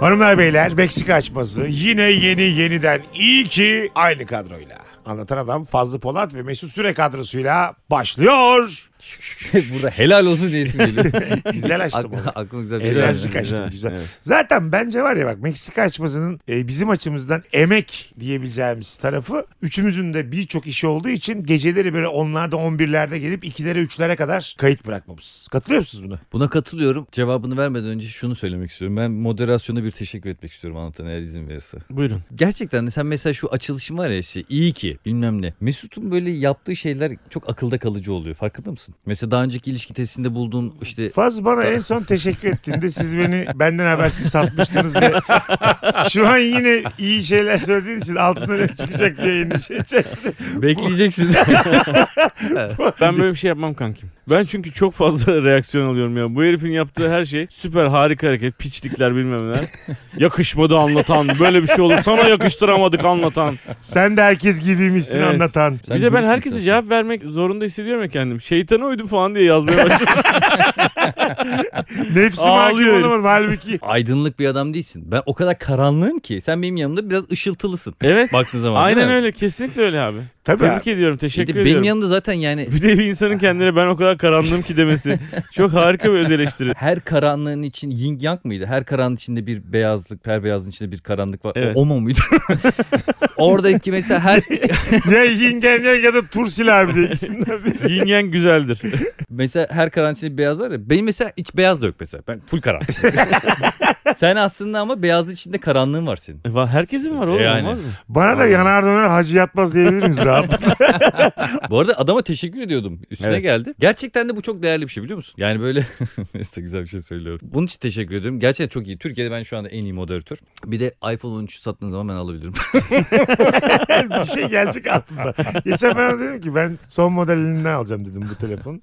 Hanımlar beyler Meksika açması yine yeni yeniden iyi ki aynı kadroyla. Anlatan adam Fazlı Polat ve Mesut Süre kadrosuyla başlıyor. Burada helal olsun diye isim geliyor. Güzel açtım onu. Ak- aklıma güzel bir şey geldi. Enerji kaçtı güzel. Zaten bence var ya bak Meksika açmasının e, bizim açımızdan emek diyebileceğimiz tarafı üçümüzün de birçok işi olduğu için geceleri böyle onlarda 11'lerde gelip 2'lere 3'lere kadar kayıt bırakmamız. Katılıyor musunuz buna? Buna katılıyorum. Cevabını vermeden önce şunu söylemek istiyorum. Ben moderasyona bir teşekkür etmek istiyorum anlatan eğer izin verirse. Buyurun. Gerçekten de sen mesela şu açılışın var ya işte iyi ki bilmem ne. Mesut'un böyle yaptığı şeyler çok akılda kalıcı oluyor. Farkında mısın? Mesela daha önceki ilişki testinde bulduğun işte Faz bana en son teşekkür ettiğinde siz beni benden habersiz satmıştınız ve şu an yine iyi şeyler söylediğin için altına ne çıkacak diye şey endişe içerisinde. bekleyeceksin. Ben böyle bir şey yapmam kankim. Ben çünkü çok fazla reaksiyon alıyorum ya. Bu herifin yaptığı her şey süper harika hareket. Piçlikler bilmem neler. Yakışmadı anlatan. Böyle bir şey olur. Sana yakıştıramadık anlatan. Sen de herkes gibiymişsin Evet. anlatan. Sen bir de ben dürüst herkese insansın. cevap vermek zorunda hissediyorum ya kendim. Şeytana uydum falan diye yazmaya başladım. Nefsime hakim Ağlıyor herif. olamadım halbuki. Aydınlık bir adam değilsin. Ben o kadar karanlığım ki sen benim yanımda biraz ışıltılısın. evet. Baktığın zaman değil Aynen mi? öyle. Kesinlikle öyle abi. Tabii abi. Tebrik ediyorum. Teşekkür Bir de ediyorum. Benim yanımda zaten yani Bir de bir insanın kendine ben o kadar karanlığım ki demesi. Çok harika bir öz eleştiri. her karanlığın için yin yang mıydı? Her karanlığın içinde bir beyazlık, her beyazın içinde bir karanlık var. Evet. O, o mu muydu? Oradaki mesela her ya yingen ya ya da Tursil abi diye ikisinden biri. Yin yang güzeldir. mesela her karanlığın içinde beyaz var ya. Benim mesela hiç beyaz da yok mesela. Ben full karanlık. Sen aslında ama beyazın içinde karanlığın var senin. Va- Herkesin var oğlum. E yani. olmaz mı? Bana da yanar döner hacı yatmaz diyebilir miyiz rahatlıkla? Bu arada adama teşekkür ediyordum. Üstüne Evet. geldi. Gerçekten de bu çok değerli bir şey biliyor musun? Yani böyle neyse güzel bir şey söylüyorum. Bunun için teşekkür ediyorum. Gerçekten çok iyi. Türkiye'de ben şu anda en iyi moderatör. Bir de iPhone 13 sattığın zaman ben alabilirim. bir şey gelecek aklımda. Geçen ben ona dedim ki ben son modelinden alacağım dedim bu telefon.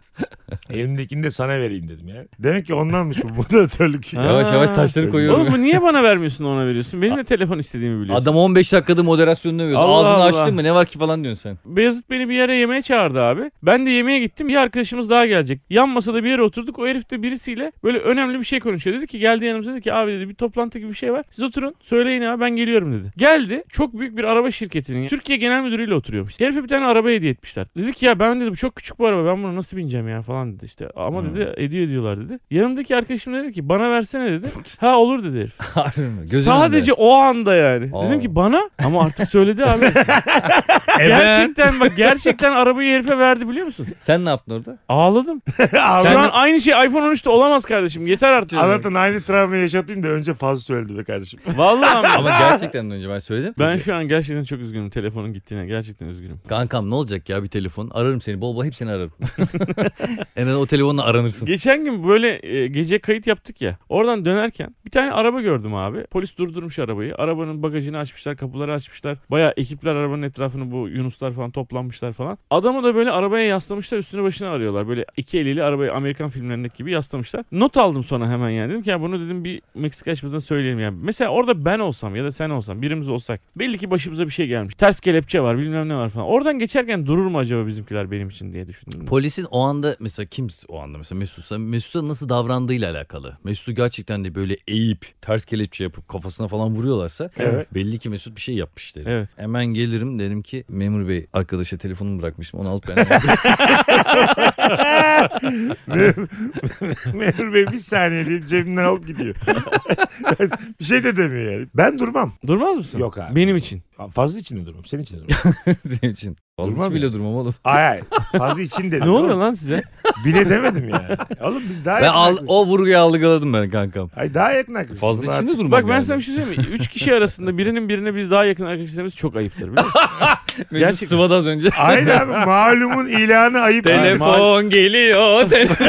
Elimdekini de sana vereyim dedim ya. Demek ki ondanmış bu moderatörlük. Ha. yavaş yavaş taşları koyuyorum. Oğlum bu niye bana vermiyorsun ona veriyorsun? Benim de telefon istediğimi biliyorsun. Adam 15 dakikada moderasyonunu övüyor. Allah Ağzını Allah. açtın mı ne var ki falan diyorsun sen. Beyazıt beni bir yere yemeğe çağırdı abi. Ben de yemeğe gittim. Bir arkadaşımız daha gelecek. Yan masada bir yere oturduk. O herif de birisiyle böyle önemli bir şey konuşuyor. Dedi ki geldi yanımıza dedi ki abi dedi bir toplantı gibi bir şey var. Siz oturun söyleyin abi ben geliyorum dedi. Geldi çok büyük bir araba şirketinin Türkiye Genel Müdürü'yle oturuyormuş. Herife bir tane araba hediye etmişler. Dedi ki ya ben dedi bu çok küçük bu araba ben buna nasıl bineceğim ya falan dedi işte. Ama Hmm. dedi hediye ediyorlar dedi. Yanımdaki arkadaşım dedi ki bana versene dedi. ha olur dedi herif. Harbi mi? Gözünün Sadece o anda yani. Aa. Dedim ki bana ama artık söyledi abi. gerçekten bak gerçekten arabayı herife verdi biliyor musun? önünde. Sen ne yaptın orada? Ağladım. Ağlan- Şu an aynı şey iPhone 13'te olamaz kardeşim. Yeter artık. Anlatan aynı travmayı yaşatayım da önce fazla söyledi be kardeşim. Vallahi ama. Ama gerçekten önce ben söyledim. Ben şu an gerçekten çok üzgünüm telefonun gittiğine. Gerçekten üzgünüm. Kankam ne olacak ya bir telefon. Ararım seni bol bol hepsini ararım. en azından o telefonla aranırsın. Geçen gün böyle e, gece kayıt yaptık ya. Oradan dönerken bir tane araba gördüm abi. Polis durdurmuş arabayı. Arabanın bagajını açmışlar, kapıları açmışlar. Bayağı ekipler arabanın etrafını bu Yunuslar falan toplanmışlar falan. Adamı da böyle arabaya yaslamışlar, üstüne başına arıyorlar. Böyle iki eliyle arabayı Amerikan filmlerindeki gibi yaslamışlar. Not aldım sonra hemen yani. Dedim ki ya bunu dedim bir Meksika açmasına söyleyelim yani. Mesela orada ben olsam ya da sen olsam birimiz olsak belli ki başımıza bir şey gelmiş. Ters kelepçe var, bilmem ne var falan. Oradan geçerken durur mu acaba bizimkiler benim için diye düşündüm. Polisin o anda mesela kim o anda mesela Mesut'sa Mesut'a nasıl davrandığıyla alakalı. Mesut'u gerçekten de böyle eğip ters kelepçe yapıp kafasına falan vuruyorlarsa Evet. belli ki Mesut bir şey yapmış derim. Evet. Hemen gelirim dedim ki memur bey arkadaşa telefonumu bırakmışım onu alıp ben Memur Bey bir saniye deyip cebimden alıp gidiyor. bir şey de demiyor yani. Ben durmam. Durmaz mısın? Yok abi. Benim için. Fazla için de durmam. Senin için de durmam. senin için. Durmam Fazla ya. bile durmam oğlum. Ay ay. Fazla için dedim. E, Ne oluyor oğlum. lan size? Bile demedim yani. Oğlum biz daha Ben yakın al, arkadaşız. o vurguyu algıladım ben kankam. Ay daha yakın arkadaşız. Fazla Bunlar- içinde durmam Bak ben yani. sana bir şey söyleyeyim mi? Üç kişi arasında birinin birine biz daha yakın arkadaş demesi çok ayıptır. biliyor musun? Mecnun Gerçekten. sıvadı az önce. Aynen abi malumun ilanı ayıp. Yani Telefon geliyor. Telefon.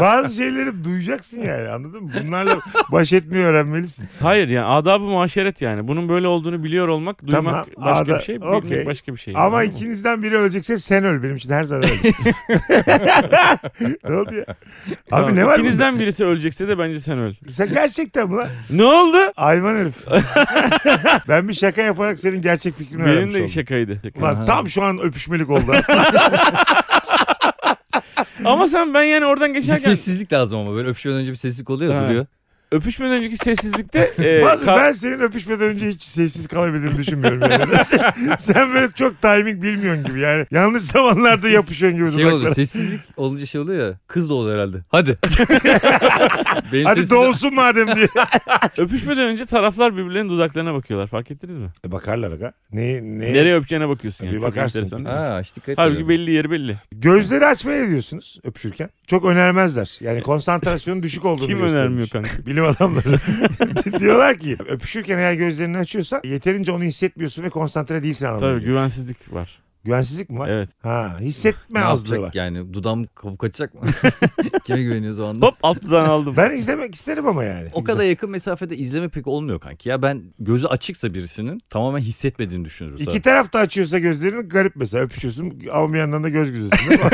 Bazı şeyleri duyacaksın yani anladın mı? Bunlarla baş etmeyi öğrenmelisin. Hayır yani adabı muaşeret yani. Bunun böyle olduğunu biliyor olmak, duymak Tamam, başka ada- bir şey, bilmek okey. başka bir şey. Ama Anladın mı? ikinizden biri ölecekse sen öl benim için her zaman öl. ne oldu ya? Abi Tamam, ne var bunda? İkinizden birisi ölecekse de bence sen öl. Sen gerçekten mi lan? Ne oldu? Hayvan herif. ben bir şaka yaparak senin gerçek fikrini Benim öğrenmiş de oldum. şakaydı. Lan tam şu an öpüşmelik oldu. Ama sen ben yani oradan bir geçerken sessizlik lazım ama böyle öpüşmeden önce bir sessizlik oluyor şey Ha. duruyor. öpüşmeden önceki sessizlikte e, Bazı ka- ben senin öpüşmeden önce hiç sessiz kalabildiğini düşünmüyorum. Yani. sen, sen böyle çok timing bilmiyorsun gibi yani. Yanlış zamanlarda yapışıyorsun gibi. Şey dudaklara. oluyor sessizlik olunca şey oluyor ya kız da olur herhalde. Hadi. Benim Hadi sessizliğim- doğsun madem diye. öpüşmeden önce taraflar birbirlerinin dudaklarına bakıyorlar. Fark ettiniz mi? E bakarlar aga. Ne, ne? Nereye öpeceğine bakıyorsun yani. Bir Çok bakarsın. enteresan değil mi? Ha hiç dikkat Halbuki etmiyorum. belli yeri belli. Gözleri açmaya ne diyorsunuz öpüşürken? Çok önermezler. Yani konsantrasyonun düşük olduğunu Kim göstermiş. önermiyor kanka? Bilim adamları diyorlar ki öpüşürken eğer gözlerini açıyorsa yeterince onu hissetmiyorsun ve konsantre değilsin anlamına. Tabii geliyor. güvensizlik var. Güvensizlik mi var? Evet. Ha, hissetme Ne azlığı yapacak var. yani dudam kapı kaçacak mı? Kime güveniyoruz o anda? Hop alt dudağını aldım. Ben izlemek isterim ama yani. O kadar yakın mesafede izleme pek olmuyor kanki. Ya ben gözü açıksa birisinin tamamen hissetmediğini düşünürüm. zaten. İki taraf da açıyorsa gözlerini garip mesela öpüşüyorsun ama bir yandan da göz güzelsin. değil mi?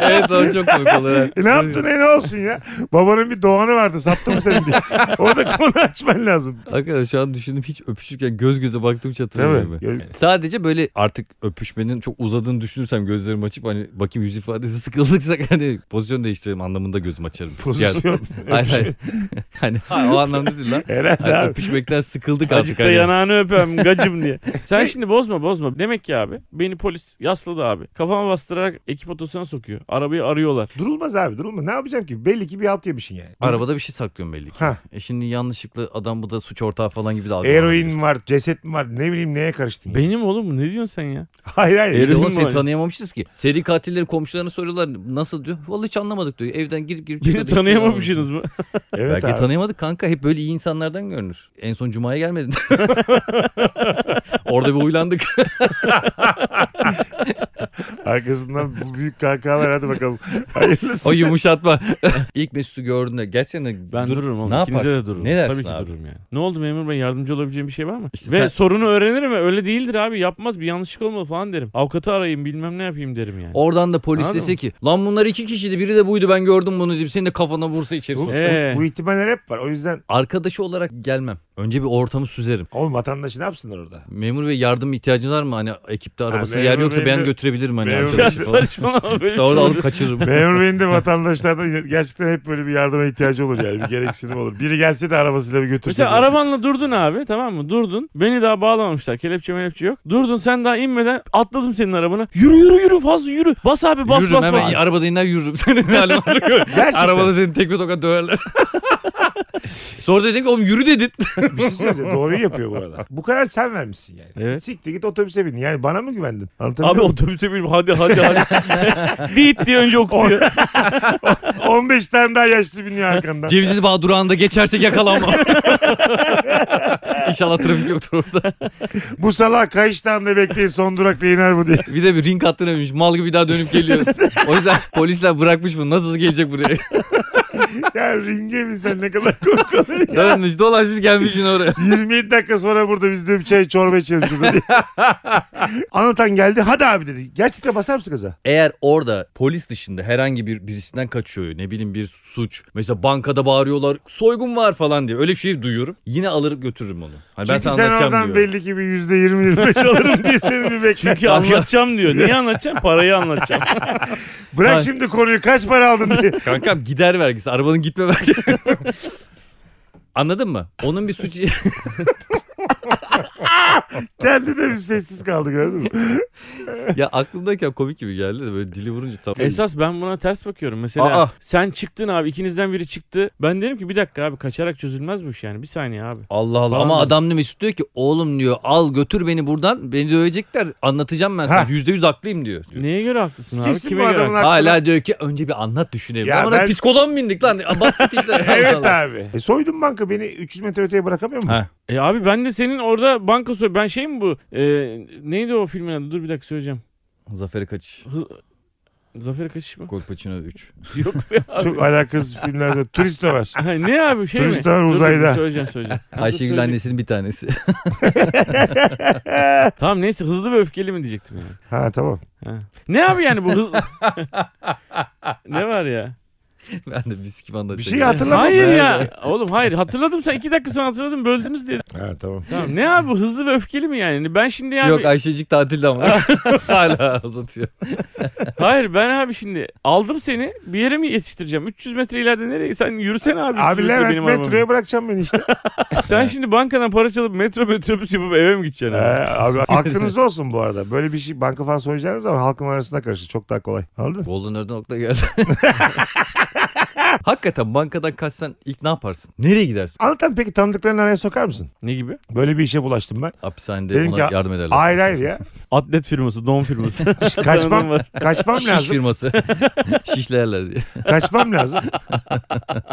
evet o çok komik olur. e ne yaptın e ne olsun ya? Babanın bir doğanı vardı sattı mı seni diye. Orada konu açman lazım. Arkadaş şu an düşündüm hiç öpüşürken göz göze baktım hiç Değil hatırlamıyorum. mi? ben. Göz- Sadece böyle artık öpüşmenin çok uzadığını düşünürsem gözlerimi açıp hani bakayım yüz ifadesi sıkıldıksa hani pozisyon değiştirelim anlamında gözüm açarım. Pozisyon. Yani, hayır hayır. hani hayır, o anlamda değil lan. Herhalde Hani abi. öpüşmekten sıkıldık Azıcık artık. da hani. yanağını öpem gacım diye. Sen şimdi bozma bozma. Demek ki abi beni polis yasladı abi. Kafama bastırarak ekip otosuna sokuyor. Arabayı arıyorlar. Durulmaz abi durulma. Ne yapacağım ki? Belli ki bir alt yemişsin yani. Arabada bir şey saklıyorum belli ki. Ha. E şimdi yanlışlıkla adam bu da suç ortağı falan gibi de algılanıyor. Eroin mi var, ceset mi var, ne bileyim neye karıştın. ya? Benim oğlum bu, ne diyorsun sen ya? Hayır hayır. Bir de Herifin oğlum seni var. tanıyamamışız ki. Seri katillerin komşularına soruyorlar nasıl diyor. Vallahi hiç anlamadık diyor. Evden girip girip Beni çıkıyorlar. Hiç tanıyamamışsınız mı? Evet Belki abi. tanıyamadık kanka. Hep böyle iyi insanlardan görünür. En son Cuma'ya gelmedin. Orada bir huylandık. Arkasından bu büyük kahkahalar hadi bakalım. Hayırlısı. o yumuşatma. İlk Mesut'u gördüğünde gerçekten de Ben dur- dururum oğlum. Ne İkinize yaparsın? de dururum. Ne dersin Tabii ki abi? dururum yani. Ne oldu memur bey yardımcı olabileceğim bir şey var mı? İşte Ve sen- sorunu öğrenirim ve öyle değildir abi yapmaz bir yanlışlık olmalı falan derim. Avukatı arayayım bilmem ne yapayım derim yani. Oradan da polis Anladın dese ki lan bunlar iki kişiydi biri de buydu ben gördüm bunu deyip seni de kafana vursa içeri Bu, soksa. Ee. bu ihtimaller hep var. O yüzden Arkadaşı olarak gelmem. Önce bir ortamı süzerim. oğlum vatandaşı ne yapsınlar orada? Memur bey yardım ihtiyacın var mı? Hani ekipte arabasına memur yer yoksa beyinde- ben götürebilirim hani Memur Ya arkadaşı falan. saçmalama böyle bir şey Sonra da olur. alıp kaçırırım. Memur Bey'in de vatandaşlardan gerçekten hep böyle bir yardıma ihtiyacı olur yani. Bir gereksinim olur. Biri gelse de arabasıyla bir götürse. Mesela diye. arabanla durdun abi tamam mı? Durdun. Beni daha bağlamamışlar. Kelepçe melepçe yok. Durdun sen daha inmeden atladım senin arabana. Yürü yürü yürü fazla yürü. Bas abi bas yürürüm bas hemen bas. arabada iner yürürüm. Senin ne halin olacak öyle? Gerçekten. Arabada seni tek bir tokat döverler. Sonra dedim ki oğlum yürü dedin. Bir şey söyleyeceğim. Doğruyu yapıyor bu arada. Bu karar sen vermişsin yani. Evet. Siktir git otobüse bin. Yani bana mı güvendin? Anlatabiliyor Abi muyum? otobüse bin hadi hadi hadi. Dit diye önce okutuyor. 15 tane daha yaşlı biniyor arkandan. Cevizli Bağ durağında geçersek yakalanma. İnşallah trafik yoktur orada. bu salak kayıştan da bekleyin son durakta iner bu diye. Bir de bir ring hattına binmiş. Mal gibi bir daha dönüp geliyor. O yüzden polisler bırakmış bunu. Nasıl gelecek buraya? Ya ringe mi sen ne kadar komik olur ya. Dönmüş dolaşmış gelmiş yine oraya. 27 dakika sonra burada biz de bir çay çorba içelim şurada diye. Anlatan geldi hadi abi dedi. Gerçekten basar mısın kaza? Eğer orada polis dışında herhangi bir birisinden kaçıyor ne bileyim bir suç mesela bankada bağırıyorlar soygun var falan diye öyle bir şey duyuyorum yine alırıp götürürüm onu. Hani ben Çünkü sana sen anlatacağım oradan diyorum. belli ki bir %20-25 alırım diye seni bir bekler. Çünkü anlatacağım diyor. Niye anlatacağım? Parayı anlatacağım. Bırak Hayır. şimdi konuyu kaç para aldın diye. Kankam gider vergisi arabanın gitme vergisi. Anladın mı? Onun bir suçu Kendi de bir sessiz kaldı gördün mü? ya aklımdayken komik gibi geldi de böyle dili vurunca tam. Esas ben buna ters bakıyorum. Mesela Aa. sen çıktın abi ikinizden biri çıktı. Ben derim ki bir dakika abi kaçarak çözülmez bu iş yani. Bir saniye abi. Allah Allah Falan ama dedim. adam ne Mesut diyor ki oğlum diyor al götür beni buradan beni dövecekler anlatacağım ben Ha. sana yüzde yüz haklıyım diyor. Neye göre haklısın abi? Kesin Kime bu göre adamın haklısın? aklına. Hala diyor ki önce bir anlat düşünelim. Ya Ya ben- ben... psikoloğa mı bindik lan? Basket işte. Evet abi. E, soydun banka beni 300 metre öteye bırakamıyor mu? Ha. E abi ben de senin orada banka soy... Ben şey mi bu? E, neydi o filmin adı? Dur bir dakika söyleyeceğim. Zafer'e kaçış. Hı... Zafer Kaçış mı? Kolpaçino 3. Yok be abi. Çok alakasız filmlerde. Turist de var. Ha, ne abi şey mi? Turistler Dur, dur, uzayda. söyleyeceğim söyleyeceğim. Ayşegül Söyleyeceğim. annesinin bir tanesi. Tamam neyse hızlı ve öfkeli mi diyecektim yani. Ha tamam. Ha. Ne abi yani bu hız... ne var ya? ben de biskimanda Bir şey hatırlamam. Hayır ya. Oğlum hayır hatırladım sen iki dakika sonra hatırladım böldünüz diye. Ha tamam. Tamam ne abi hızlı ve öfkeli mi yani? Ben şimdi yani. Yok Ayşecik tatilde ama. Hala uzatıyor. Hayır ben abi şimdi aldım seni bir yere mi yetiştireceğim? 300 metre ileride nereye? Sen yürüsene abi. 300 Abi metre Levent benim arabamı. metroya bırakacağım beni işte. Sen şimdi bankadan para çalıp metro metrobüs yapıp eve mi Ee, gideceksin? abi? abi aklınızda olsun bu arada. Böyle bir şey banka falan soyacağınız zaman halkın arasında karışır. Çok daha kolay. Anladın? Golden Nerd'e nokta geldi. Hakikaten bankadan kaçsan ilk ne yaparsın? Nereye gidersin? Anlatan peki tanıdıklarını araya sokar mısın? Ne gibi? Böyle bir işe bulaştım ben. Hapishanede Dedim ona ki, yardım ederler. Hayır hayır ya. Atlet firması, don firması. Tanıdığım Kaçmam, var. kaçmam Şiş lazım. firması. Şişlerler diye. Kaçmam lazım.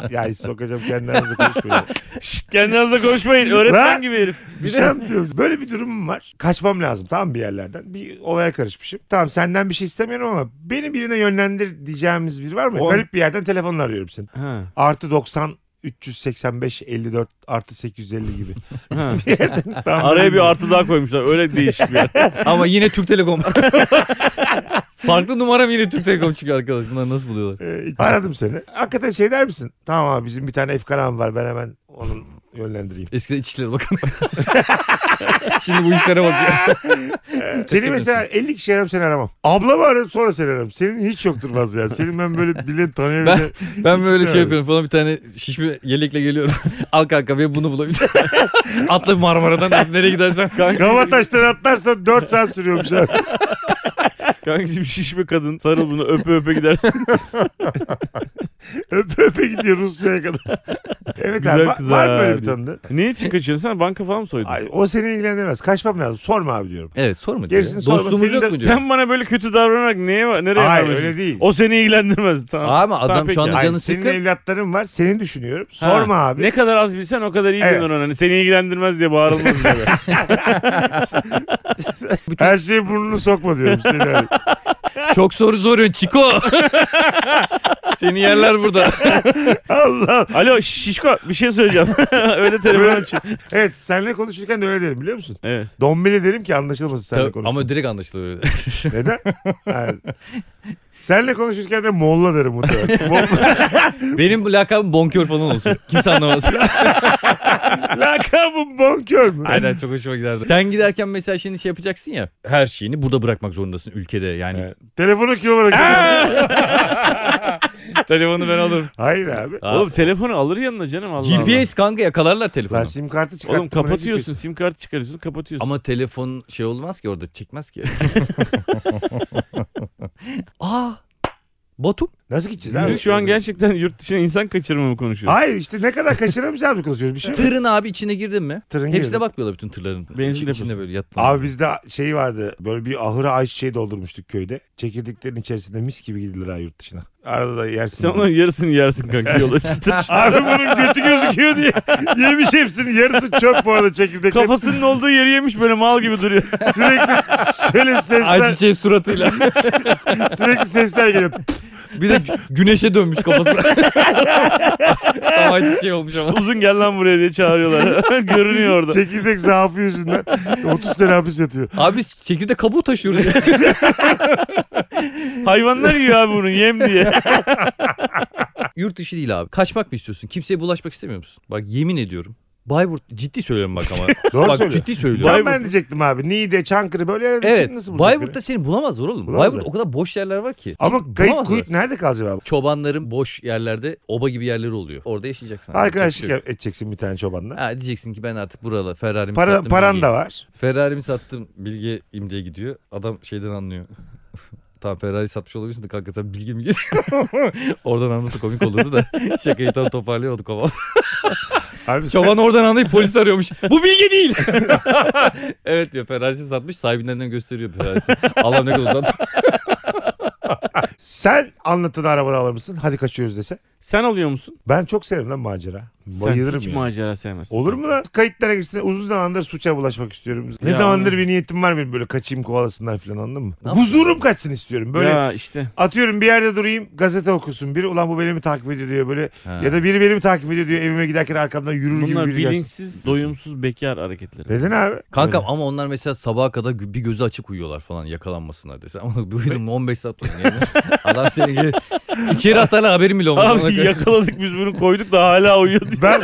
ya hiç sokacağım kendi aranızda konuşmayın. Şşt kendi aranızda konuşmayın. Öğretmen Lan! gibi herif. Bir şey anlatıyoruz. Böyle bir durumum var. Kaçmam lazım tamam mı, bir yerlerden. Bir olaya karışmışım. Tamam senden bir şey istemiyorum ama beni birine yönlendir diyeceğimiz biri var mı? Oğlum. Garip bir yerden telefonla arıyorum seni. Ha, Artı 90 385 54 artı 850 gibi. ha. Bir yerden- Tamam. Araya bir artı daha koymuşlar. Öyle değişik bir yer. Ama yine Türk Telekom. Farklı numaram yine Türk Telekom çıkıyor arkadaş. Bunları nasıl buluyorlar? Ee, aradım seni. Hakikaten şey der misin? Tamam abi bizim bir tane efkanam var ben hemen onu yönlendireyim. Eskiden İçişleri Bakanı. Şimdi bu işlere bakıyor. Seni mesela 50 kişi aram seni aramam. Ablamı ararım sonra seni ararım. Senin hiç yoktur fazla ya. Senin ben böyle bile tanıyamayacağım. Ben böyle İşte şey abi. yapıyorum falan bir tane şişme yelekle geliyorum. Al kanka ben bunu bulabilirim. Atla Marmara'dan at, nereye gidersen kanka. Kavataş'tan atlarsan 4 saat sürüyormuş abi. Kankacığım şişme kadın. Sarıl bunu öpe öpe gidersin. öpe öpe gidiyor Rusya'ya kadar. Evet Güzel abi var- kız var mı böyle abi. bir tanıdığın? ne için kaçıyorsun sen? Banka falan mı soydun? Ay, o seni ilgilendirmez. Kaçmam lazım. Sorma abi diyorum. Evet sorma diyor. Gerisini ya. sorma, Dostluğumuz senin de- yok mu diyor. Sen bana böyle kötü davranarak neye, nereye Hayır varmışsın? öyle değil. O seni ilgilendirmez. Tamam. Ama adam Tamam, şu peki. anda Ay, canı senin sıkkın. evlatların var. Seni düşünüyorum. Ha, Sorma abi. Ne kadar az bilsen o kadar iyi Evet. evet. ona. Hani seni ilgilendirmez diye bağırılmaz. böyle. Her şeyi burnunu sokma diyorum seni abi. Çok soru soruyor Çiko. Seni yerler burada. Allah. Alo şiş- şişko bir şey söyleyeceğim. öyle telefon Böyle- aç. evet seninle konuşurken de öyle derim biliyor musun? Evet. Dombili derim ki anlaşılmasın seninle Tabii, konuşurken. ama direkt anlaşılıyor. Neden? Yani, senle konuşurken de Molla derim muhtemelen. Molla- Benim lakabım bonkör falan olsun. Kimse anlamaz. Lakabım bonkör mü? Aynen çok hoşuma giderdi. Sen giderken mesela şimdi şey yapacaksın ya. Her şeyini burada bırakmak zorundasın ülkede. Yani Evet. Telefonu kime bırakıyorum? telefonu ben alırım. Hayır abi. Aa, Oğlum telefonu alır yanına canım Allah Allah. GPS kanka yakalarlar Ben telefonu. sim kartı çıkarttım. Oğlum kapatıyorsun sim kartı çıkarıyorsun kapatıyorsun. Ama telefon şey olmaz ki orada çekmez ki. Aa Batum. Nasıl gideceğiz abi? Biz şu an gerçekten yurt dışına insan kaçırma mı konuşuyoruz? Hayır işte ne kadar kaçıramayacağımızı konuşuyoruz. Bir şey mi? Tırın abi içine girdin mi? Tırın girdi. Hepsine bakmıyorlar bütün tırların. Benzin İçi- deposu. İçinde böyle yattı. Abi bizde şey vardı böyle bir ahıra ayçiçeği doldurmuştuk köyde. Çekirdeklerin içerisinde mis gibi gidilir ha yurt dışına. Arada da yersin. Sen onun yarısını yersin kanka yola çıtır çıtır. Abi bunun götü gözüküyor diye yemiş hepsini. Yarısı çöp bu arada çekirdek. Kafasının olduğu yeri yemiş böyle mal gibi duruyor. Sürekli şöyle sesler, Ayçiçeği suratıyla. sürekli sesler geliyor. bir de gü- güneşe dönmüş kafası. Tam ayçiçeği olmuş ama. Uzun gel lan buraya diye çağırıyorlar. Görünüyor orada. Çekirdek zaafı yüzünden 30 sene hapis yatıyor. Abi biz çekirdek kabuğu taşıyoruz. ya. Şey- Hayvanlar yiyor abi bunu yem diye. Yurt dışı değil abi. Kaçmak mı istiyorsun? Kimseye bulaşmak istemiyor musun? Bak yemin ediyorum. Bayburt ciddi söylüyorum bak ama. Doğru bak söylüyor. ciddi söylüyorum. Tam ben diyecektim abi. Niğde, Çankırı böyle yerlerde Evet. kim nasıl bulacak beni? Bayburt'ta seni bulamazlar oğlum. Bulamazlar. Bayburt o kadar boş yerler var ki. Ama Ciddi kayıt bulamazlar. kuyut nerede kalacak abi? Çobanların boş yerlerde oba gibi yerleri oluyor. Orada yaşayacaksın. abi. Arkadaşlık Yapacak edeceksin bir tane bir şey yok. çobanla. Ha, diyeceksin ki ben artık buralı Ferrari'mi Para, sattım. paran bilgiye. da var. Ferrari'mi sattım bilgi imdiye gidiyor. Adam şeyden anlıyor. tamam Ferrari satmış olabilirsin de kanka sen bilgi mi oradan anlatı komik olurdu da şakayı tam toparlayamadık ama. Abi sen- Çoban oradan anlayıp polis arıyormuş. Bu bilgi değil. evet diyor Ferrari'si satmış sahibinden gösteriyor Ferrari'si. Allah ne kadar uzattı. sen anlatın arabanı alır mısın? Hadi kaçıyoruz dese. Sen oluyor musun? Ben çok severim lan macera. Sen Bayılırım hiç ya. macera sevmezsin. Olur mu lan? Kayıtlara gitsin. Uzun zamandır suça bulaşmak istiyorum. Ne Ya. zamandır bir niyetim var benim böyle kaçayım kovalasınlar falan anladın mı? Ne yapıyorsun? Huzurum kaçsın istiyorum. Böyle Ya işte. atıyorum bir yerde durayım gazete okusun. Biri ulan bu beni mi takip ediyor diyor böyle. Ya da biri beni mi takip ediyor diyor evime giderken arkamdan yürür Bunlar gibi biri gelsin. bilinçsiz, doyumsuz bekar hareketleri. Neden abi? Kankam ama onlar mesela sabaha kadar gü- bir gözü açık uyuyorlar falan yakalanmasınlar dese. Ama bu uyudum 15 saat uyudum. Yani. Adam seni gel- içeri atarlar haberim bile olmadı. Abi yakaladık biz bunu koyduk da hala uyuyor. Ben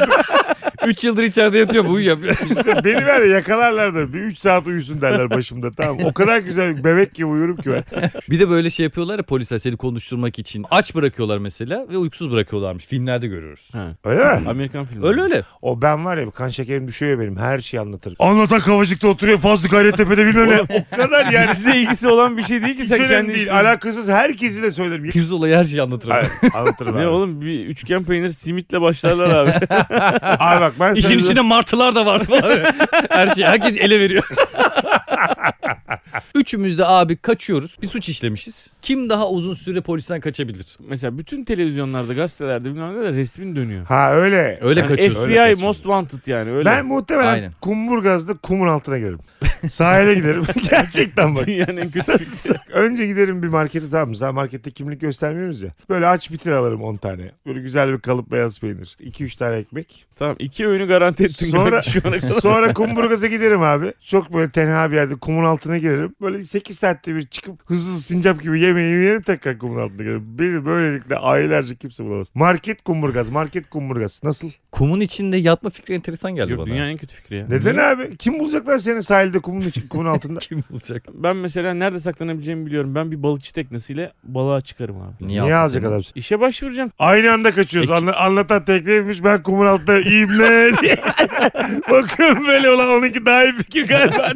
3 yıldır içeride yatıyor bu uyuyor. İşte beni ver ya, yakalarlar da bir 3 saat uyusun derler başımda tamam. O kadar güzel bebek gibi uyurum ki ben. Bir de böyle şey yapıyorlar ya polisler seni konuşturmak için. Aç bırakıyorlar mesela ve uykusuz bırakıyorlarmış. Filmlerde görüyoruz. Öyle mi? Amerikan filmi. Öyle öyle. O ben var ya kan şekerim düşüyor ya benim her şeyi anlatırım. Anlatan Kavacık'ta oturuyor Fazlı Gayrettepe'de bilmem ne. O kadar yani. Bizle ilgisi olan bir şey değil ki Hiç sen önemli kendi değil. işin- Alakasız herkesi de söylerim. Pirzolayı her şeyi anlatırım. Ay, Anlatırım abi. Ne oğlum bir üçgen peynir simitle başlarlar abi. Abi bak ben sana... İşin içinde martılar da var falan. Her şey herkes ele veriyor. Üçümüz de abi kaçıyoruz. Bir suç işlemişiz. Kim daha uzun süre polisten kaçabilir? Mesela bütün televizyonlarda, gazetelerde bilmem ne de resmin dönüyor. Ha öyle. Öyle Yani kaçıyoruz. FBI Öyle kaçıyoruz. Most Wanted yani öyle. Ben muhtemelen Aynen. Kumburgaz'da kumun altına girerim. Sahile giderim. Gerçekten bak. Dünyanın en kötü fikri. Önce giderim bir markete tamam mı? Zaten markette kimlik göstermiyoruz ya. Böyle aç bitir alırım 10 tane. Böyle güzel bir kalıp beyaz peynir. 2-3 tane ekmek. Tamam iki öğünü garanti ettin. Sonra- kanka şu ana kadar. Sonra Kumburgaz'a giderim abi. Çok böyle tenha bir yerde kumun altına girerim. Böyle 8 saatte bir çıkıp hızlı hızlı sincap gibi yemeğimi yerim tekrar kumun altına girerim. Beni böylelikle aylarca kimse bulamaz. Market Kumburgaz, market Kumburgaz. Nasıl? Kumun içinde yatma fikri enteresan geldi Yok bana. dünyanın en kötü fikri ya. Neden abi? Kim bulacaklar seni sahilde kumun, içi, kumun altında? Kim bulacak? Ben mesela nerede saklanabileceğimi biliyorum. Ben bir balıkçı teknesiyle balığa çıkarım abi. Niye alacak adam? seni? İşe başvuracağım. Aynı anda kaçıyoruz. Anla- anlatan tekneymiş ben kumun altında iyiyim ne diye. Bakıyorum böyle ulan onunki daha iyi fikir galiba.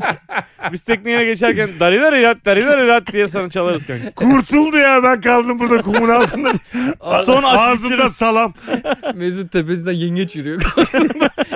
Biz tekneye geçerken dariler ilat dariler ilat diye sana çalarız kanka. Kurtuldu ya ben kaldım burada kumun altında. Son aç Ağzımda bitirin. salam. Mesut tepesinden yengeç yürüyor.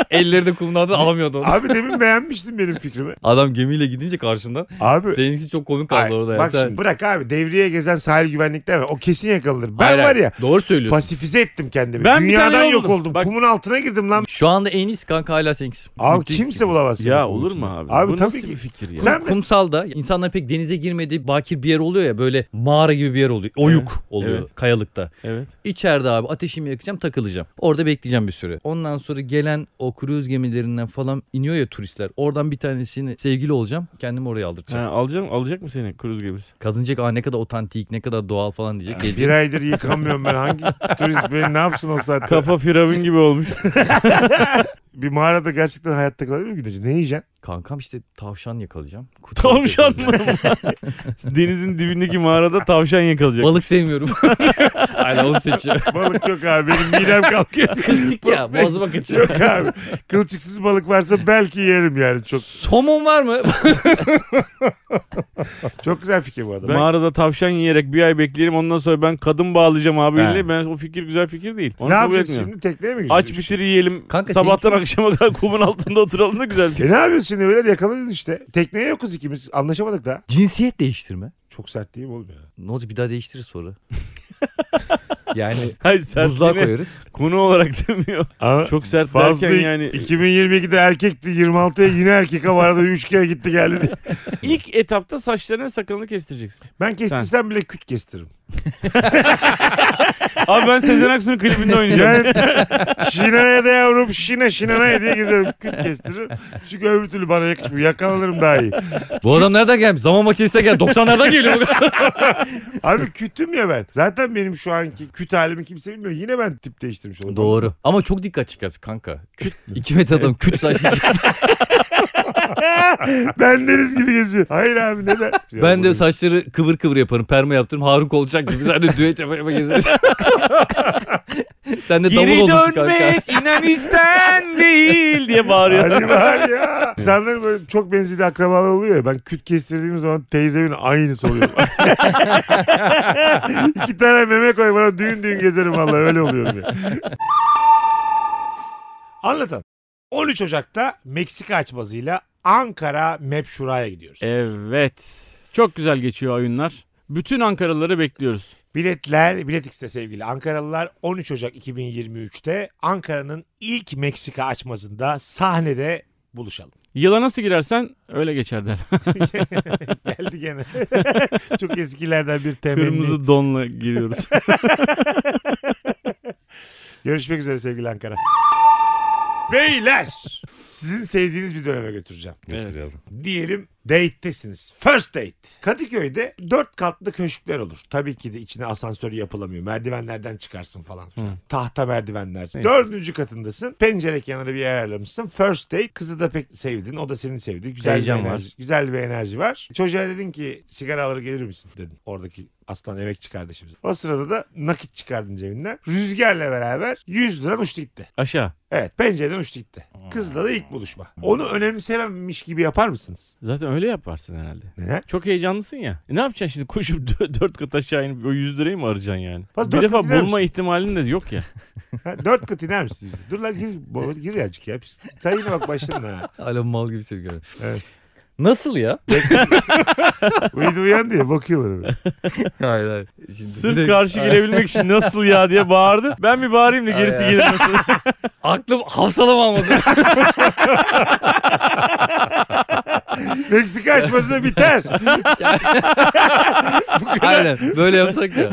Elleri de kumdan alamıyordu onu. Abi demin beğenmiştin benim fikrimi. Adam gemiyle gidince karşından. Abi Seninkisi çok komik kaldı ay, orada. ya. bak Sen- şimdi bırak abi devriye gezen sahil güvenlikler var. O kesin yakalanır. Ben Hayır, var hayır. ya Doğru söylüyorsun. pasifize ettim kendimi. Ben bir Dünyadan tane yol yok buldum. oldum. Bak- Kumun altına girdim lan. Şu anda en iyisi kanka hala seninkisi. Abi Müthiş kimse fikir. bulamaz seni. şey. Ya olur mu abi? Abi Bu tabii nasıl ki. bir fikir ya? Sen- Kumsalda insanlar pek denize girmediği bakir bir yer oluyor ya böyle mağara gibi bir yer oluyor. Oyuk oluyor evet. kayalıkta. Evet. İçeride abi ateşimi yakacağım takılacağım. Orada bekleyeceğim bir süre. Ondan sonra gelen o kruz gemilerinden falan iniyor ya turistler. Oradan bir tanesini sevgili olacağım. Kendimi oraya Ha, aldıracağım. alacağım, alacak mı seni kruz gemisi? Kadıncık aa ne kadar otantik ne kadar doğal falan diyecek. Bir aydır yıkamıyorum ben. Hangi turist beni ne yapsın o saatte? Kafa firavun gibi olmuş. Bir mağarada gerçekten hayatta kalabilir mi güneş? Ne yiyeceksin? Kankam işte tavşan yakalayacağım. Kutu Tavşan yakalayacağım. mı? Denizin dibindeki mağarada tavşan yakalayacak. Balık sevmiyorum. Aynen onu seçiyor. Balık yok abi. Benim midem kalkıyor. Kılçık ya boğazıma kaçıyor. yok abi. Kılçıksız balık varsa belki yerim yani. Çok Somon var mı? çok güzel fikir bu adam. Mağarada tavşan yiyerek bir ay bekleyelim ondan sonra ben kadın bağlayacağım abi. He. Ben o fikir güzel fikir değil. Onu ne kabul yapacağız etmiyorum. şimdi? Tekneye mi gireceğiz? Aç bitir yiyelim. Kanka Sabahtan akşama kadar kumun altında oturalım da güzel. fikir. E ne yapıyorsun şimdi beyler yakaladın işte. Tekneye yokuz ikimiz. Anlaşamadık da. Cinsiyet değiştirme. Çok sert değil mi oğlum ya? Ne olacak bir daha değiştirir sonra. yani Hayır sen buzluğa yine koyarız. konu olarak demiyor. Ama Çok sert fazla derken yani. 2022'de erkekti 26'ya yine erkek ama arada 3 kere gitti geldi. diye. İlk etapta saçlarını sakalını kestireceksin. Ben kestirsem bile küt kestiririm. Abi ben Sezen Aksu'nun klibinde oynayacağım. Yani şinaya da yavrum şine şinaya diye gezerim küt kestiririm. Çünkü öbür türlü bana yakışmıyor. Yakalanırım daha iyi. Bu adam nereden gelmiş? Zaman makinesine gel. 90'lardan geliyor. Abi kütüm ya ben. Zaten benim şu anki küt halimi kimse bilmiyor. Yine ben tip değiştirmiş olurum. Doğru. Ama çok dikkat çıkarsın kanka. Küt mü? 2 metre adam küt saçlı. ben deniz gibi geziyor. Hayır abi neden? ben de saçları kıvır kıvır yaparım. Perma yaptırırım. Harun Kolçak gibi. Sen de düet yapa yapa gezersin. Sen de davul Geri olursun kanka. dönmek inan içten değil diye bağırıyor. Hadi var ya. İnsanların böyle çok benzeri akrabalar oluyor ya. Ben küt kestirdiğim zaman teyzemin aynısı oluyor. İki tane meme koy bana düğün düğün gezerim vallahi öyle oluyorum ya. Anlatan. 13 Ocak'ta Meksika açmazıyla Ankara Mepşura'ya gidiyoruz. E- Evet. Çok güzel geçiyor oyunlar. Bütün Ankaralıları bekliyoruz. Biletler Bilet X'te sevgili Ankaralılar 13 Ocak 2023'te Ankara'nın ilk Meksika açmazında sahnede buluşalım. Yıla nasıl girersen öyle geçer der. Geldi gene. Çok eskilerden bir temenni. Kırmızı donla giriyoruz. Görüşmek üzere sevgili Ankara. Beyler sizin sevdiğiniz bir döneme götüreceğim. Evet. Diyelim Date'tesiniz. First date. Kadıköy'de dört katlı köşkler olur. Tabii ki de içine asansör yapılamıyor. Merdivenlerden çıkarsın falan filan. Hı. Tahta merdivenler. Neyse. Dördüncü katındasın. Pencere kenarı bir yer ayarlamışsın. First date. Kızı da pek sevdin. O da seni sevdi. Güzel Heyecan bir var. enerji, Güzel bir enerji var. Çocuğa dedin ki sigara alır gelir misin dedin. Oradaki aslan emekçi kardeşimiz. O sırada da nakit çıkardın cebinden. Rüzgarla beraber 100 liran uçtu gitti. Aşağı. Evet pencereden uçtu gitti. Kızla da ilk buluşma. Onu önemsememiş gibi yapar mısınız? Zaten öyle yaparsın herhalde. Neden? Çok heyecanlısın ya. E ne yapacaksın şimdi koşup dö- dört kat aşağı inip o 100 lirayı mı arayacaksın yani? Bas- bir dört defa kat iner bulma misin? ihtimalin de yok ya. Ha, dört kat iner misin? yüzde? Dur lan gir, baba, gir yazık ya. Biz- Sen yine bak başladın ha. Hala mal gibi sevgi var. Evet. Nasıl ya? Uyudu uyan diyor bakıyor bana. böyle. hayır hayır. Şimdi bir de- Sırf karşı Ay, gelebilmek için nasıl ya diye bağırdı. Ben bir bağırayım da gerisi Ay, ay. gelir. Aklım hafsalam almadı. Meksika açmasına biter. Aynen böyle yapsak ya.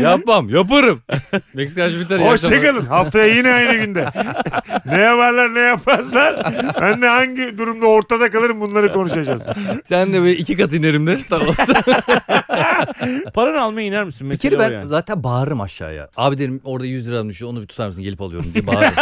Yapmam yaparım. Meksika aşı biter. iyi akşamlar. Hoşçakalın. Haftaya yine aynı günde. ne yaparlar ne yapmazlar. Ben de hangi durumda ortada kalırım bunları konuşacağız. Sen de böyle iki kat inerim de. Tamam. Paranı almaya iner misin? bir Mesela kere ben yani. zaten bağırırım aşağıya. Abi derim orada 100 liram düşüyor onu bir tutar mısın gelip alıyorum diye bağırırım.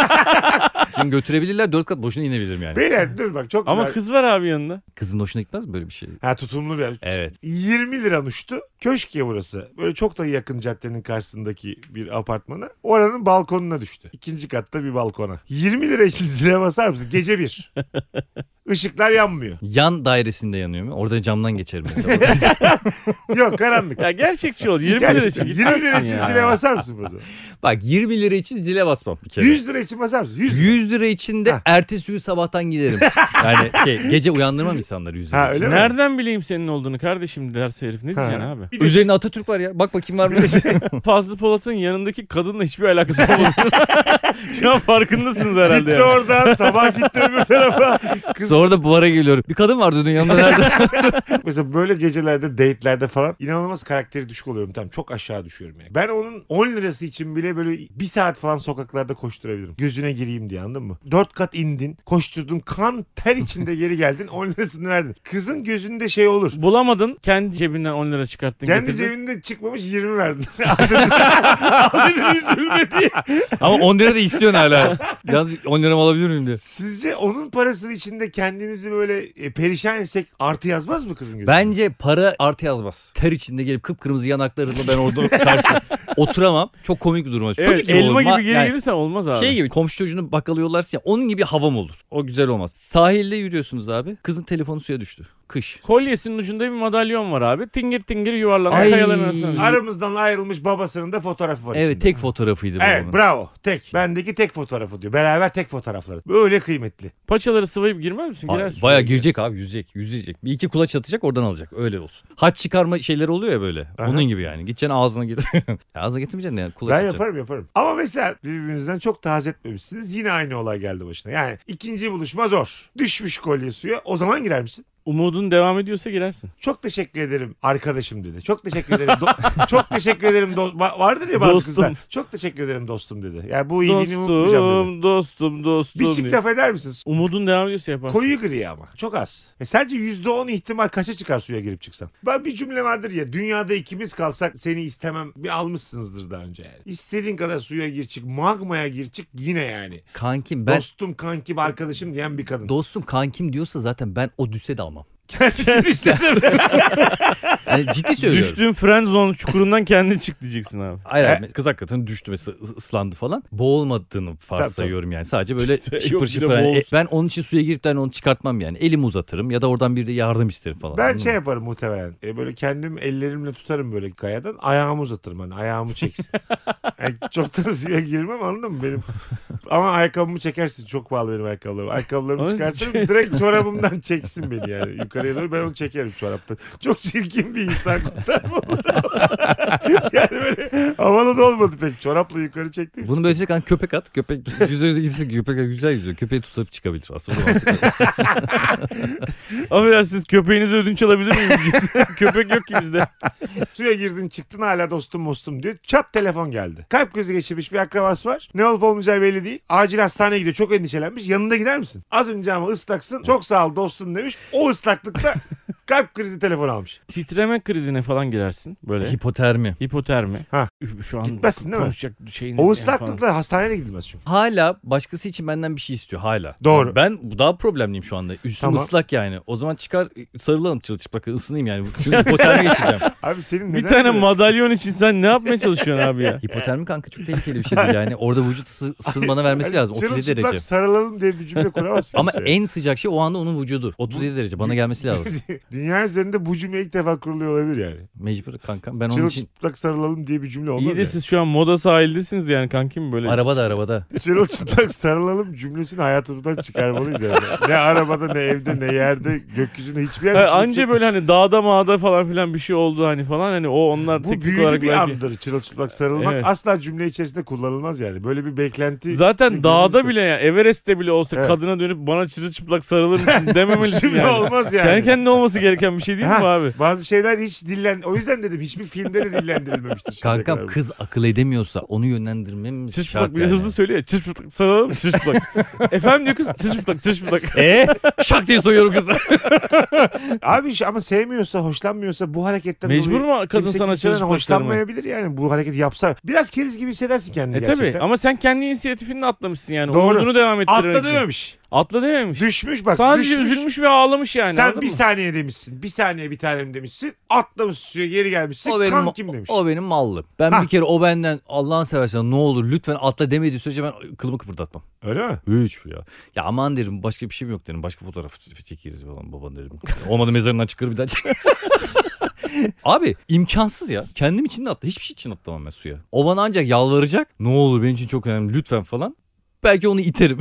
Çünkü götürebilirler dört kat boşuna inebilirim yani. Beyler dur bak çok Ama güzel. kız var abi yanında. Kızın hoşuna gitmez mi böyle bir şey? Ha tutumlu bir. Evet. 20 lira uçtu. Köşk ya burası. Böyle çok da yakın caddenin karşısındaki bir apartmana. Oranın balkonuna düştü. İkinci katta bir balkona. 20 lira için zile basar mısın? Gece bir. Işıklar yanmıyor. Yan dairesinde yanıyor mu? Orada camdan geçerim mesela. Yok karanlık. Ya gerçekçi ol. 20 lira için Gerçekten 20 gitmezsin lira için ya. zile basar mısın bu zaman? Bak 20 lira için zile basmam bir kere. 100 lira için basar mısın? 100 100 lira için de Ha. ertesi gün sabahtan giderim. Yani şey gece uyandırmam insanları 100 lira Ha, için. öyle mi? Nereden bileyim senin olduğunu kardeşim derse herif ne diyeceksin Ha. abi? Bir de Üzerine Atatürk var ya. Bak bakayım var mı? Fazlı Polat'ın yanındaki kadınla hiçbir alakası olmadı. Şu an farkındasınız herhalde. Gitti yani. oradan sabah gitti öbür tarafa. Kız Sonra da buvara geliyorum. Bir kadın vardı dün yanında nerede? mesela böyle gecelerde date'lerde falan inanılmaz karakteri düşük oluyorum. Tamam çok aşağı düşüyorum yani. Ben onun 10 lirası için bile böyle bir saat falan sokaklarda koşturabilirim. Gözüne gireyim diye anladın mı? 4 kat indin koşturdun kan ter içinde geri geldin 10 lirasını verdin. Kızın gözünde şey olur. Bulamadın kendi cebinden 10 lira çıkarttın Kendi getirdin. cebinde çıkmamış 20 verdin. Al dedin üzülme diye. Ama 10 lira da istiyorsun hala. Yalnız 10 liramı alabilir miyim diye. Sizce onun parasının içinde kendimizi böyle e, perişan etsek artı yazmaz mı kızın gözünde? Bence para artı yazmaz. Ter içinde gelip kıpkırmızı yanaklarıyla ben orada karşı oturamam. Çok komik bir durum. olur. Evet, Çocuk gibi elma olurum. gibi Ha, geri yani gelirsen olmaz abi. Şey gibi komşu çocuğunu bakkala yollarsın ya onun gibi havam olur. O güzel olmaz. Sahilde yürüyorsunuz abi. Kızın telefonu suya düştü. Kış. Kolyesinin ucunda bir madalyon var abi. Tingir tingir yuvarlanan Ay. kayaların arasında. Aramızdan ayrılmış babasının da fotoğrafı var Evet içinde. tek fotoğrafıydı bu. Evet onun. bravo tek. Bendeki tek fotoğrafı diyor. Beraber tek fotoğrafları. Böyle kıymetli. Paçaları sıvayıp girmez misin? Ay, Girersin. Baya girecek abi yüzecek yüzecek. Bir iki kulaç atacak oradan alacak öyle olsun. Haç çıkarma şeyleri oluyor ya böyle. Aha. Onun gibi yani. Gideceksin ağzına git. ağzına getirmeyeceksin de yani kulaç Ben atacaksın. yaparım yaparım. Ama mesela birbirinizden çok tahaz etmemişsiniz. Yine aynı olay geldi başına. Yani ikinci buluşma zor. Düşmüş kolye suya. O zaman girer misin? Umudun devam ediyorsa girersin. Çok teşekkür ederim arkadaşım dedi. Çok teşekkür ederim. do- çok teşekkür ederim. Do- Va- vardır ya bazı Dostum. kızlar. Çok teşekkür ederim dostum dedi. Yani bu iyiliğini unutmayacağım dedi. Dostum, dostum, dostum. Bir çift diye. laf eder misin? Umudun devam ediyorsa yaparsın. Koyu gri ama. Çok az. E sence %10 ihtimal kaça çıkar suya girip çıksan? Ben bir cümle vardır ya. Dünyada ikimiz kalsak seni istemem. Bir almışsınızdır daha önce yani. İstediğin kadar suya gir çık. Magmaya gir çık yine yani. Kankim ben Dostum, kankim, arkadaşım diyen bir kadın. dostum kankim diyorsa zaten ben o düse de almam. Kendisi düşse de- Yani ciddi söylüyorum. Düştüğün friend zone çukurundan kendin çık diyeceksin abi. Hayır, E. hayır, kız hakikaten düştü ve ıs- ıslandı falan. Boğulmadığını Tabii, varsayıyorum yani. Sadece böyle Yok, şıpır yine şıpır. Yani, boğulsun. ben onun için suya girip de hani onu çıkartmam yani. Elimi uzatırım ya da oradan bir de yardım isterim falan. ben Anladın şey mı? yaparım muhtemelen. E böyle kendim ellerimle tutarım böyle kayadan. Ayağımı uzatırım hani ayağımı çeksin. Yani çok da suya girmem anladın mı benim? Ama ayakkabımı çekersin. Çok pahalı benim ayakkabılarım. Ayakkabılarımı Ama- çıkartırım. Direkt çorabımdan çeksin beni yani. Yukarıya doğru ben onu çekerim çoraptan. Çok çirkin bir insan. yani böyle havalı da olmadı pek. Çorapla yukarı çektim. Bunu böyle hani köpek at. Köpek yüze yüze gitsin. Köpek güzel yüzüyor. Köpeği tutup çıkabilir aslında. O da mantıklı. Affedersiniz köpeğinizi ödünç alabilir miyim? Köpek yok ki bizde. Suya girdin çıktın hala dostum mostum diyor. Çat telefon geldi. Kalp krizi geçirmiş bir akrabası var. Ne olup olmayacağı belli değil. Acil hastaneye gidiyor. Çok endişelenmiş. Yanında gider misin? Az önce ama ıslaksın. Çok sağ ol dostum demiş. O ıslaklık sıcaklıkta kalp krizi telefon almış. Titreme krizine falan girersin böyle. Hipotermi. Hipotermi. Ha. Üf, Şu an Gitmezsin değil mi? konuşacak şeyin. O yani falan. ıslaklıkla hastaneye de gidilmez çünkü. Hala başkası için benden bir şey istiyor hala. Doğru. Ben daha problemliyim şu anda. Üstüm Tamam. ıslak yani. O zaman çıkar sarılalım çırılçıplak ısınayım yani. Çünkü hipotermi geçeceğim. Abi senin Bir neden tane böyle- madalyon için sen ne yapmaya çalışıyorsun abi ya? Hipotermi kanka çok tehlikeli bir şey değil yani. Orada vücut ısı, ısınmana vermesi Hani lazım. 37 çırılçıplak derece. sarılalım diye bir cümle kuramazsın. Ama kimseye. en sıcak şey o anda onun vücudu. 37 derece bana gelmesi lazım. Dünya üzerinde bu cümle ilk defa kuruluyor olabilir yani. Mecbur kanka. Ben onun için Çırılçıplak sarılalım diye bir cümle olmaz İyi de yani. siz şu an moda sahildesiniz yani kankim böyle. arabada arabada. Çırılçıplak sarılalım cümlesini hayatımızdan çıkarmalıyız yani. Ne arabada ne evde ne yerde gökyüzünde hiçbir yerde. Ha, çırılçıplak- anca böyle hani dağda mağda falan filan bir şey oldu hani falan hani o onlar Bu teknik büyülü olarak bir belki. andır çırılçıplak sarılmak. Evet. Asla cümle içerisinde kullanılmaz yani. Böyle bir beklenti. Zaten çekimimiz dağda yok. bile yani Everest'te bile olsa Şey, Evet. kadına dönüp bana çırılçıplak sarılır mısın dememelisin Şimdi yani. olmaz yani. Kendi kendine olması gereken bir şey değil mi Ha. bu abi? Bazı şeyler hiç dillen... O yüzden dedim hiçbir filmde de dillendirilmemiştir. şimdiye Kankam kadar. kız akıl edemiyorsa onu yönlendirmemiz şart Çırçıplak bir yani. hızlı söylüyor. ya, Çırçıplak sarılalım mı? çırçıplak. Efendim diyor kız çırçıplak çırçıplak. Ee? Şak diye soyuyorum kızı. Abi şu- ama sevmiyorsa, hoşlanmıyorsa bu hareketten Mecbur dolayı mu kadın kimse sana kimseden çırçıplak sarılmaya? hoşlanmayabilir yani bu hareketi yapsa. Biraz keriz gibi hissedersin kendini E gerçekten. tabi ama sen kendi inisiyatifini atlamışsın yani. Doğru. Umudunu devam ettirmek Atla için. dememiş. Atla dememiş. Düşmüş bak. Sadece düşmüş. üzülmüş ve ağlamış yani. Sen anladın bir mı? saniye demişsin. Bir saniye bir tanem demişsin. Atlamış suya geri gelmişsin. O benim, Kan kim demiş. o benim mallı. Ben Ha. bir kere o benden Allah'ın seversen ne olur lütfen atla demediği sürece ben kılımı kıpırdatmam. Öyle mi? Hiç ya. Ya aman derim başka bir şeyim yok derim. Başka fotoğraf çekeriz falan baban derim. Olmadı mezarından çıkar bir daha çek. Abi imkansız ya. Kendim için de atla. Hiçbir şey için atlamam ben suya. O bana ancak yalvaracak. Ne olur benim için çok önemli lütfen falan. Belki onu iterim.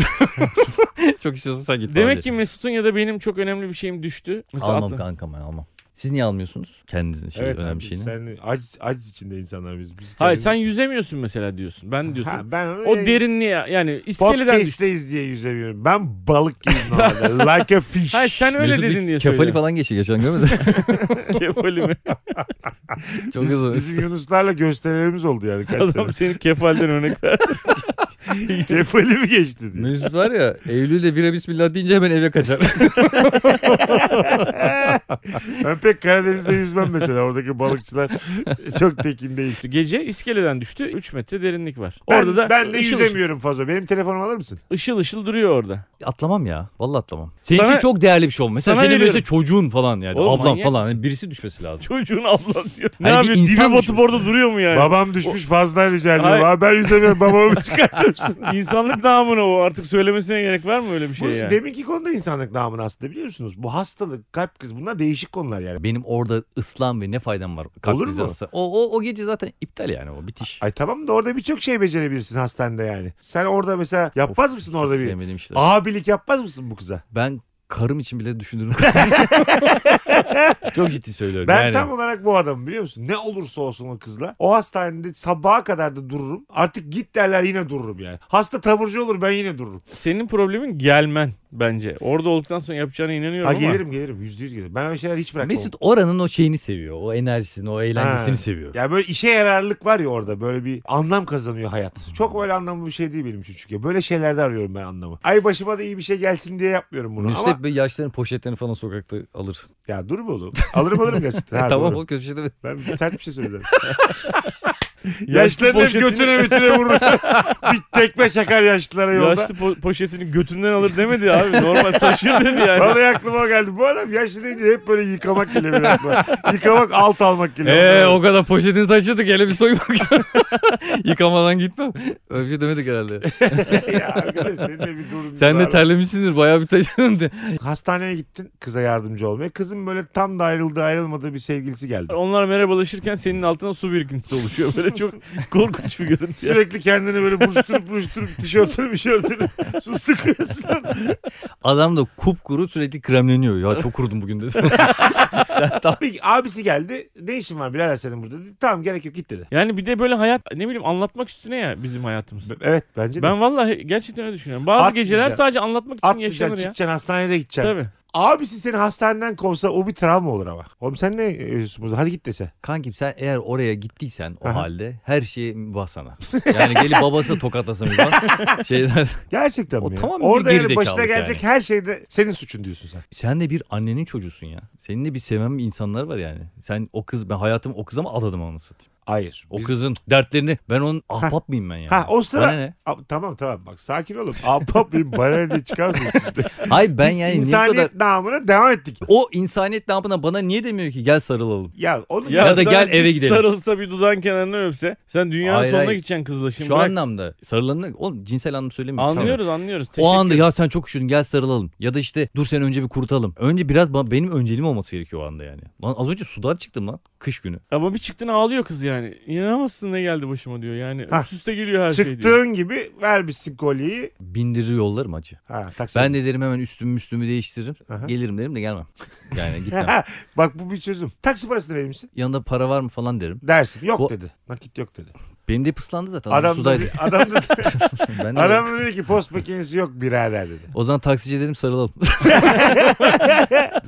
çok istiyorsan sen git. Demek ki Mesut'un ya da benim çok önemli bir şeyim düştü. Mesela Almam atla- kankam ben almam. Siz niye almıyorsunuz? Kendinizin şeyi, evet önemli abi, şeyini. Sen aciz, aciz içinde insanlar biz. biz Hayır kendimiz- sen yüzemiyorsun mesela diyorsun. Ben diyorsun. Ha, ben onu o derinliğe yani iskeleden düştü. Podcast'teyiz diye yüzemiyorum. Ben balık gibiyim normalde. like a fish. Hayır sen öyle Mesut bir dedin diye kefali söylüyorum. falan geçti geçen görmedin mi? Kefali mi? Çok Biz, hızlı. bizim Yunuslarla gösterilerimiz oldu yani. Kaç Adam senin kefalden örnek ver. sene. Kefali mi geçti diye. Mesut var ya Eylül'de bira bismillah deyince hemen eve kaçar. ben pek Karadeniz'de yüzmem mesela. Oradaki balıkçılar çok tekin değil. Gece iskeleden düştü. 3 metre derinlik var. Ben, orada da ben de ışıl ışıl, yüzemiyorum fazla. Benim telefonumu alır mısın? ışıl ışıl duruyor orada. atlamam ya. Vallahi atlamam. Senin Sana- için çok değerli bir şey olmalı. Mesela sana senin veriyorum. mesela çocuğun falan yani. Oğlum, ablan manyak falan. mısın? Yani birisi düşmesi lazım. Çocuğun ablan diyor. Ne Hani bir yapıyor? Dibe insan batıp düşün. orada duruyor mu yani? Babam düşmüş fazla rica Hayır. ediyorum. Abi ben yüzemiyorum. Babamı çıkartır mısın? İnsanlık namına o. Artık söylemesine gerek var mı öyle bir Bu şey yani? deminki konuda insanlık namını aslında biliyor musunuz? Bu hastalık, kalp krizi bunlar değişik konular yani. Benim orada ıslan ve ne faydam var? kalp Olur mu? krizi hastası. O, o, o gece zaten iptal yani o bitiş. Ay tamam da orada birçok şey becerebilirsin hastanede yani. Sen orada mesela yapmaz mısın orada bir Ah. Sevmediğim işler. abilik yapmaz mısın bu kıza? Ben karım için bile düşünürüm. çok ciddi söylüyorum. Ben yani. tam olarak bu adamım biliyor musun? Ne olursa olsun o kızla. O hastanede sabaha kadar da dururum. Artık git derler yine dururum yani. Hasta taburcu olur ben yine dururum. Senin problemin gelmen bence. Orada olduktan sonra yapacağına inanıyorum Ha ama. gelirim gelirim yüzde yüz gelirim. Ben öyle şeyler hiç bırakmam. Mesut oranın o şeyini seviyor. O enerjisini, o eğlencesini Ha. seviyor. Ya böyle işe yararlılık var ya orada böyle bir anlam kazanıyor hayat. Çok öyle anlamlı bir şey değil benim için çünkü. Böyle şeylerde arıyorum ben anlamı. Ay başıma da iyi bir şey gelsin diye yapmıyorum bunu Nusret ama Bey yaşların poşetlerini falan sokakta alır. E, ya dur be oğlum. Alırım alırım gerçekten. Ha, tamam doğru. o köşede Ben sert bir şey söyledim. Yaşlı Yaşlıların hep poşetini- götüne götüne vurur. bir tekme çakar yaşlılara yolda. Yaşlı po- poşetini götünden alır demedi abi. Normal taşır dedi yani. Vallahi aklıma o geldi. Bu adam yaşlı deyince hep böyle yıkamak geliyor benim aklıma. Yıkamak alt almak geliyor. Eee Ee, o kadar poşetini taşıdık hele bir soymak. Yıkamadan gitmem. Öyle bir şey demedik herhalde. ya arkadaş senin de bir durum. Sen var. de terlemişsindir bayağı bir taşıdın. de. Hastaneye gittin kıza yardımcı olmaya. Kızın böyle tam da ayrıldığı ayrılmadığı bir sevgilisi geldi. Onlar merhabalaşırken senin altına su birikintisi oluşuyor. Böyle çok korkunç bir görüntü. ya. Sürekli kendini böyle buruşturup buruşturup tişörtünü tişörtünü su sıkıyorsun. Adam da kupkuru sürekli kremleniyor. Ya çok kurudum bugün dedi. Abi, abisi geldi. Ne işin var birader senin burada? Dedi, Tamam gerek yok git dedi. Yani bir de böyle hayat ne bileyim anlatmak üstüne ya bizim hayatımız. B- Evet bence de. Ben vallahi gerçekten öyle düşünüyorum. Bazı Atlayacaksın. geceler sadece anlatmak için Atlayacaksın yaşanır ya. çıkacaksın hastaneye de gideceksin. Tabii. Abisi seni hastaneden kovsa o bir travma olur ama. Oğlum sen ne yiyorsun burada? Hadi git dese. Kankim sen eğer oraya gittiysen o Aha. halde her şeyi mübah sana. Yani gelip babası tokatlasa mübah. Şeyden, Gerçekten O mi ya? tamamen bir Orada yani gerizekalık başına yani. gelecek her şeyde senin suçun diyorsun sen. sen de bir annenin çocuğusun ya. Senin de bir seven insanlar var yani. Sen o kız ben hayatımı o kıza mı adadım onu satayım. Hayır. O Biz- kızın dertlerini ben onun ahbap mıyım ben yani? Ha, o sıra- Bana ne? A- tamam tamam bak sakin olun. Abba bir bana ne çıkarsın işte. Hayır ben Biz yani niye bu insaniyet kadar... namına devam ettik. O insaniyet namına bana niye demiyor ki gel sarılalım. Ya onu Ya da sana gel bir eve gidelim. Sarılsa bir dudağın kenarına öpse. Sen dünyanın Hayır, sonuna hayır. gideceksin kızla şimdi. Şu bırak. anlamda sarılanın oğlum cinsel anlamda söylemiyorum. Anlıyoruz anlıyoruz. O Teşekkür anda ya sen çok üşüdün gel sarılalım. Ya da işte dur sen önce bir kurutalım. Önce biraz ba- benim önceliğim olması gerekiyor o anda yani. Lan az önce sudan çıktım lan kış günü. Ama bir çıktın ağlıyor kız yani. İnanamazsın ne geldi başıma diyor. Yani Ha. üst üste geliyor her şey diyor. çıktığın gibi vermişsin kolyeyi. Bindirir yollarım acı. Ha, Ben taksiye de derim hemen üstümü üstümü değiştiririm. Aha. Gelirim derim de gelmem. Yani bin. gitmem. Bak bu bir çözüm. Taksi parasını verir misin? Yanında para var mı falan derim. Dersin. Yok Bu- dedi. Nakit yok dedi. Benim de pıslandı zaten. Adam Adam da, sudaydı. adam da, ben de adam da dedi ki post makinesi yok birader dedi. O zaman taksiciye dedim sarılalım.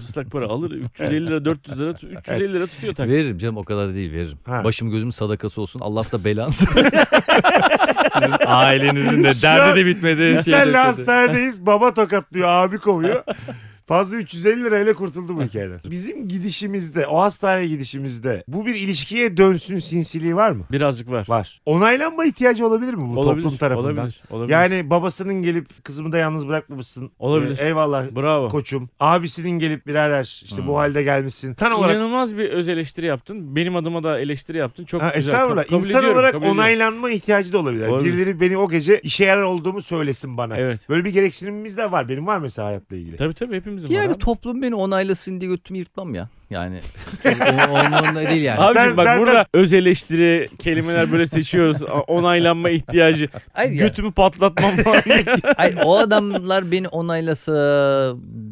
Islak para alır 350 lira 400 lira tut- 350 lira tutuyor taksi. veririm canım o kadar da değil veririm. Ha. Başım gözüm sadakası olsun. Allah da belansı. Sizin ailenizin de Şu an- derdi de bitmedi. Biz şey de senle bitmedi. hastanedeyiz. Baba tokatlıyor. Abi kovuyor. Fazla 350 lirayla kurtuldu bu hikayeden. Bizim gidişimizde, o hastaneye gidişimizde bu bir ilişkiye dönsün sinsiliği var mı? Birazcık var. Var. Onaylanma ihtiyacı olabilir mi bu olabilir, toplum tarafından? Olabilir. Olabilir. Yani babasının gelip kızımı da yalnız bırakmamışsın. Olabilir. Ee, eyvallah Bravo. koçum. Abisinin gelip birader işte Hmm. bu halde gelmişsin. Tan olarak İnanılmaz bir öz eleştiri yaptın. Benim adıma da eleştiri yaptın. Çok Ha, güzel. estağfurullah. Ka- kabul İnsan ediyorum, olarak kabul ediyorum. onaylanma ihtiyacı da olabilir. Yani Olabilir. Birileri beni o gece işe yarar olduğumu söylesin bana. Evet. Böyle bir gereksinimimiz de var. Benim var mesela hayatla ilgili. Tabii tabii hepimizin var. Yani abi. toplum beni onaylasın diye götümü yırtmam ya. Yani çok o- onunla değil yani. Abicim Sen- bak sen- burada öz eleştiri kelimeler böyle seçiyoruz. A- Onaylanma ihtiyacı. Hayır, yani. Götümü patlatmam falan. Hayır, o adamlar beni onaylasa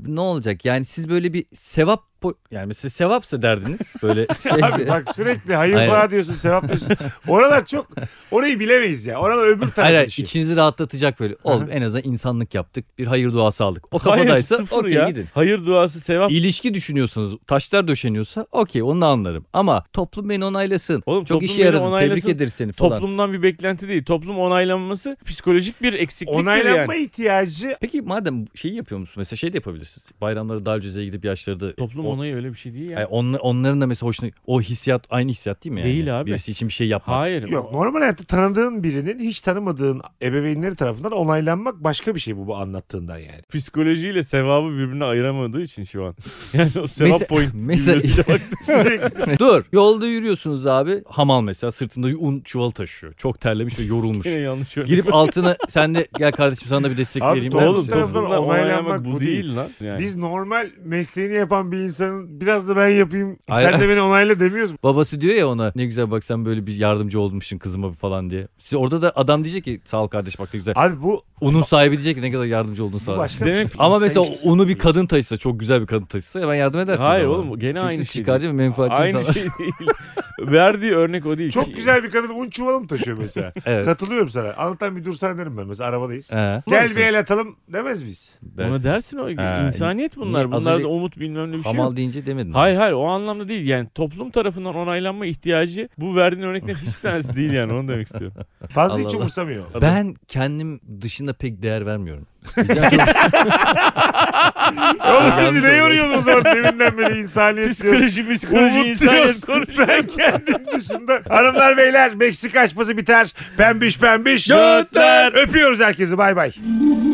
ne olacak? Yani siz böyle bir sevap po- yani mesela sevapsa derdiniz böyle Abi şey, bak sürekli hayır Aynen. bana diyorsun sevap diyorsun. Oralar çok orayı bilemeyiz ya. Oralar öbür Hayır, tarafı hayır işi. içinizi rahatlatacak böyle. Oğlum en azından insanlık yaptık. Bir hayır duası aldık. O Hayır kafadaysa sıfır okey ya. gidin. Hayır duası sevap. İlişki düşünüyorsanız taşlar döşeniyorsa okey onu anlarım. Ama toplum beni onaylasın. Oğlum, Çok toplum işe beni yaradın. Tebrik onaylasın, ederiz seni falan. Toplumdan bir beklenti değil. Toplum onaylanması psikolojik bir eksikliktir Onaylanma yani. ihtiyacı Peki madem şeyi yapıyor musun? Mesela şey de yapabilirsiniz. Bayramları daha cüzeye gidip yaşları da... Toplum O- onayı öyle bir şey değil yani. Yani onla- onların da mesela hoşuna... O hissiyat aynı hissiyat değil mi yani? Değil abi. Birisi için bir şey yapmak. Hayır. yok. O- Normal hayatta tanıdığın birinin hiç tanımadığın ebeveynleri tarafından onaylanmak başka bir şey bu, bu anlattığından yani. Psikolojiyle sevabı birbirine ayıramadığı için şu an. Yani o sevap Mesela- point. mesela- cümlesiyle bak- Sürekli. Dur. Yolda yürüyorsunuz abi. Hamal mesela sırtında un çuvalı taşıyor. Çok terlemiş ve yorulmuş. Yine yanlış örnek. Girip altına sen de gel kardeşim sana da bir destek Abi vereyim. der toplum Oğlum misin? tarafından toplumdan onaylanmak onaylanmak bu bu değil lan. Yani. Biz normal mesleğini yapan bir insanın biraz da ben yapayım Hayır. sen de beni onayla demiyoruz mu? Babası diyor ya ona ne güzel bak sen böyle bir yardımcı olmuşsun kızıma falan diye. Siz orada da adam diyecek ki sağ ol kardeş bak ne güzel. Abi bu, Unun sahibi diyecek ki ne kadar yardımcı oldun bu sağ ol. başka Demek- bir şey. Ama İnsan mesela ilişkisi onu bir değil. kadın taşısa çok güzel bir kadın taşısa ben yardım edersin. Hayır sana. oğlum, gene Çünkü aynı siz şey çıkarcı ve menfaatçi Aynı insanlar. şey değil. Verdiği örnek o değil. Çok güzel bir kadın un çuvalı mı taşıyor mesela? Evet. Katılıyorum sana. Anlatan bir dursana derim ben mesela arabadayız. He. Gel bir el atalım demez miyiz? Ona dersin o. Ha, İnsaniyet niye- bunlar. az Bunlarda önce- umut bilmem ne bir şey yok. Hamal deyince demedin. Hayır hayır o anlamda değil yani toplum tarafından onaylanma ihtiyacı bu verdiğin örneklerin hiçbir tanesi değil yani onu demek istiyorum. Fazla Allah hiç Allah. umursamıyor. Ben kendim dışında pek değer vermiyorum. Diyeceğim çok- Oğlum Yanlış bizi ne oldu. yoruyorsunuz orada deminden beri insaniyet diyoruz. Psikoloji psikoloji Umut insaniyet diyoruz. konuşuyor. Ben kendim dışında. Hanımlar beyler Meksika açması biter. Pembiş pembiş. Götler. Öpüyoruz herkesi bay bay.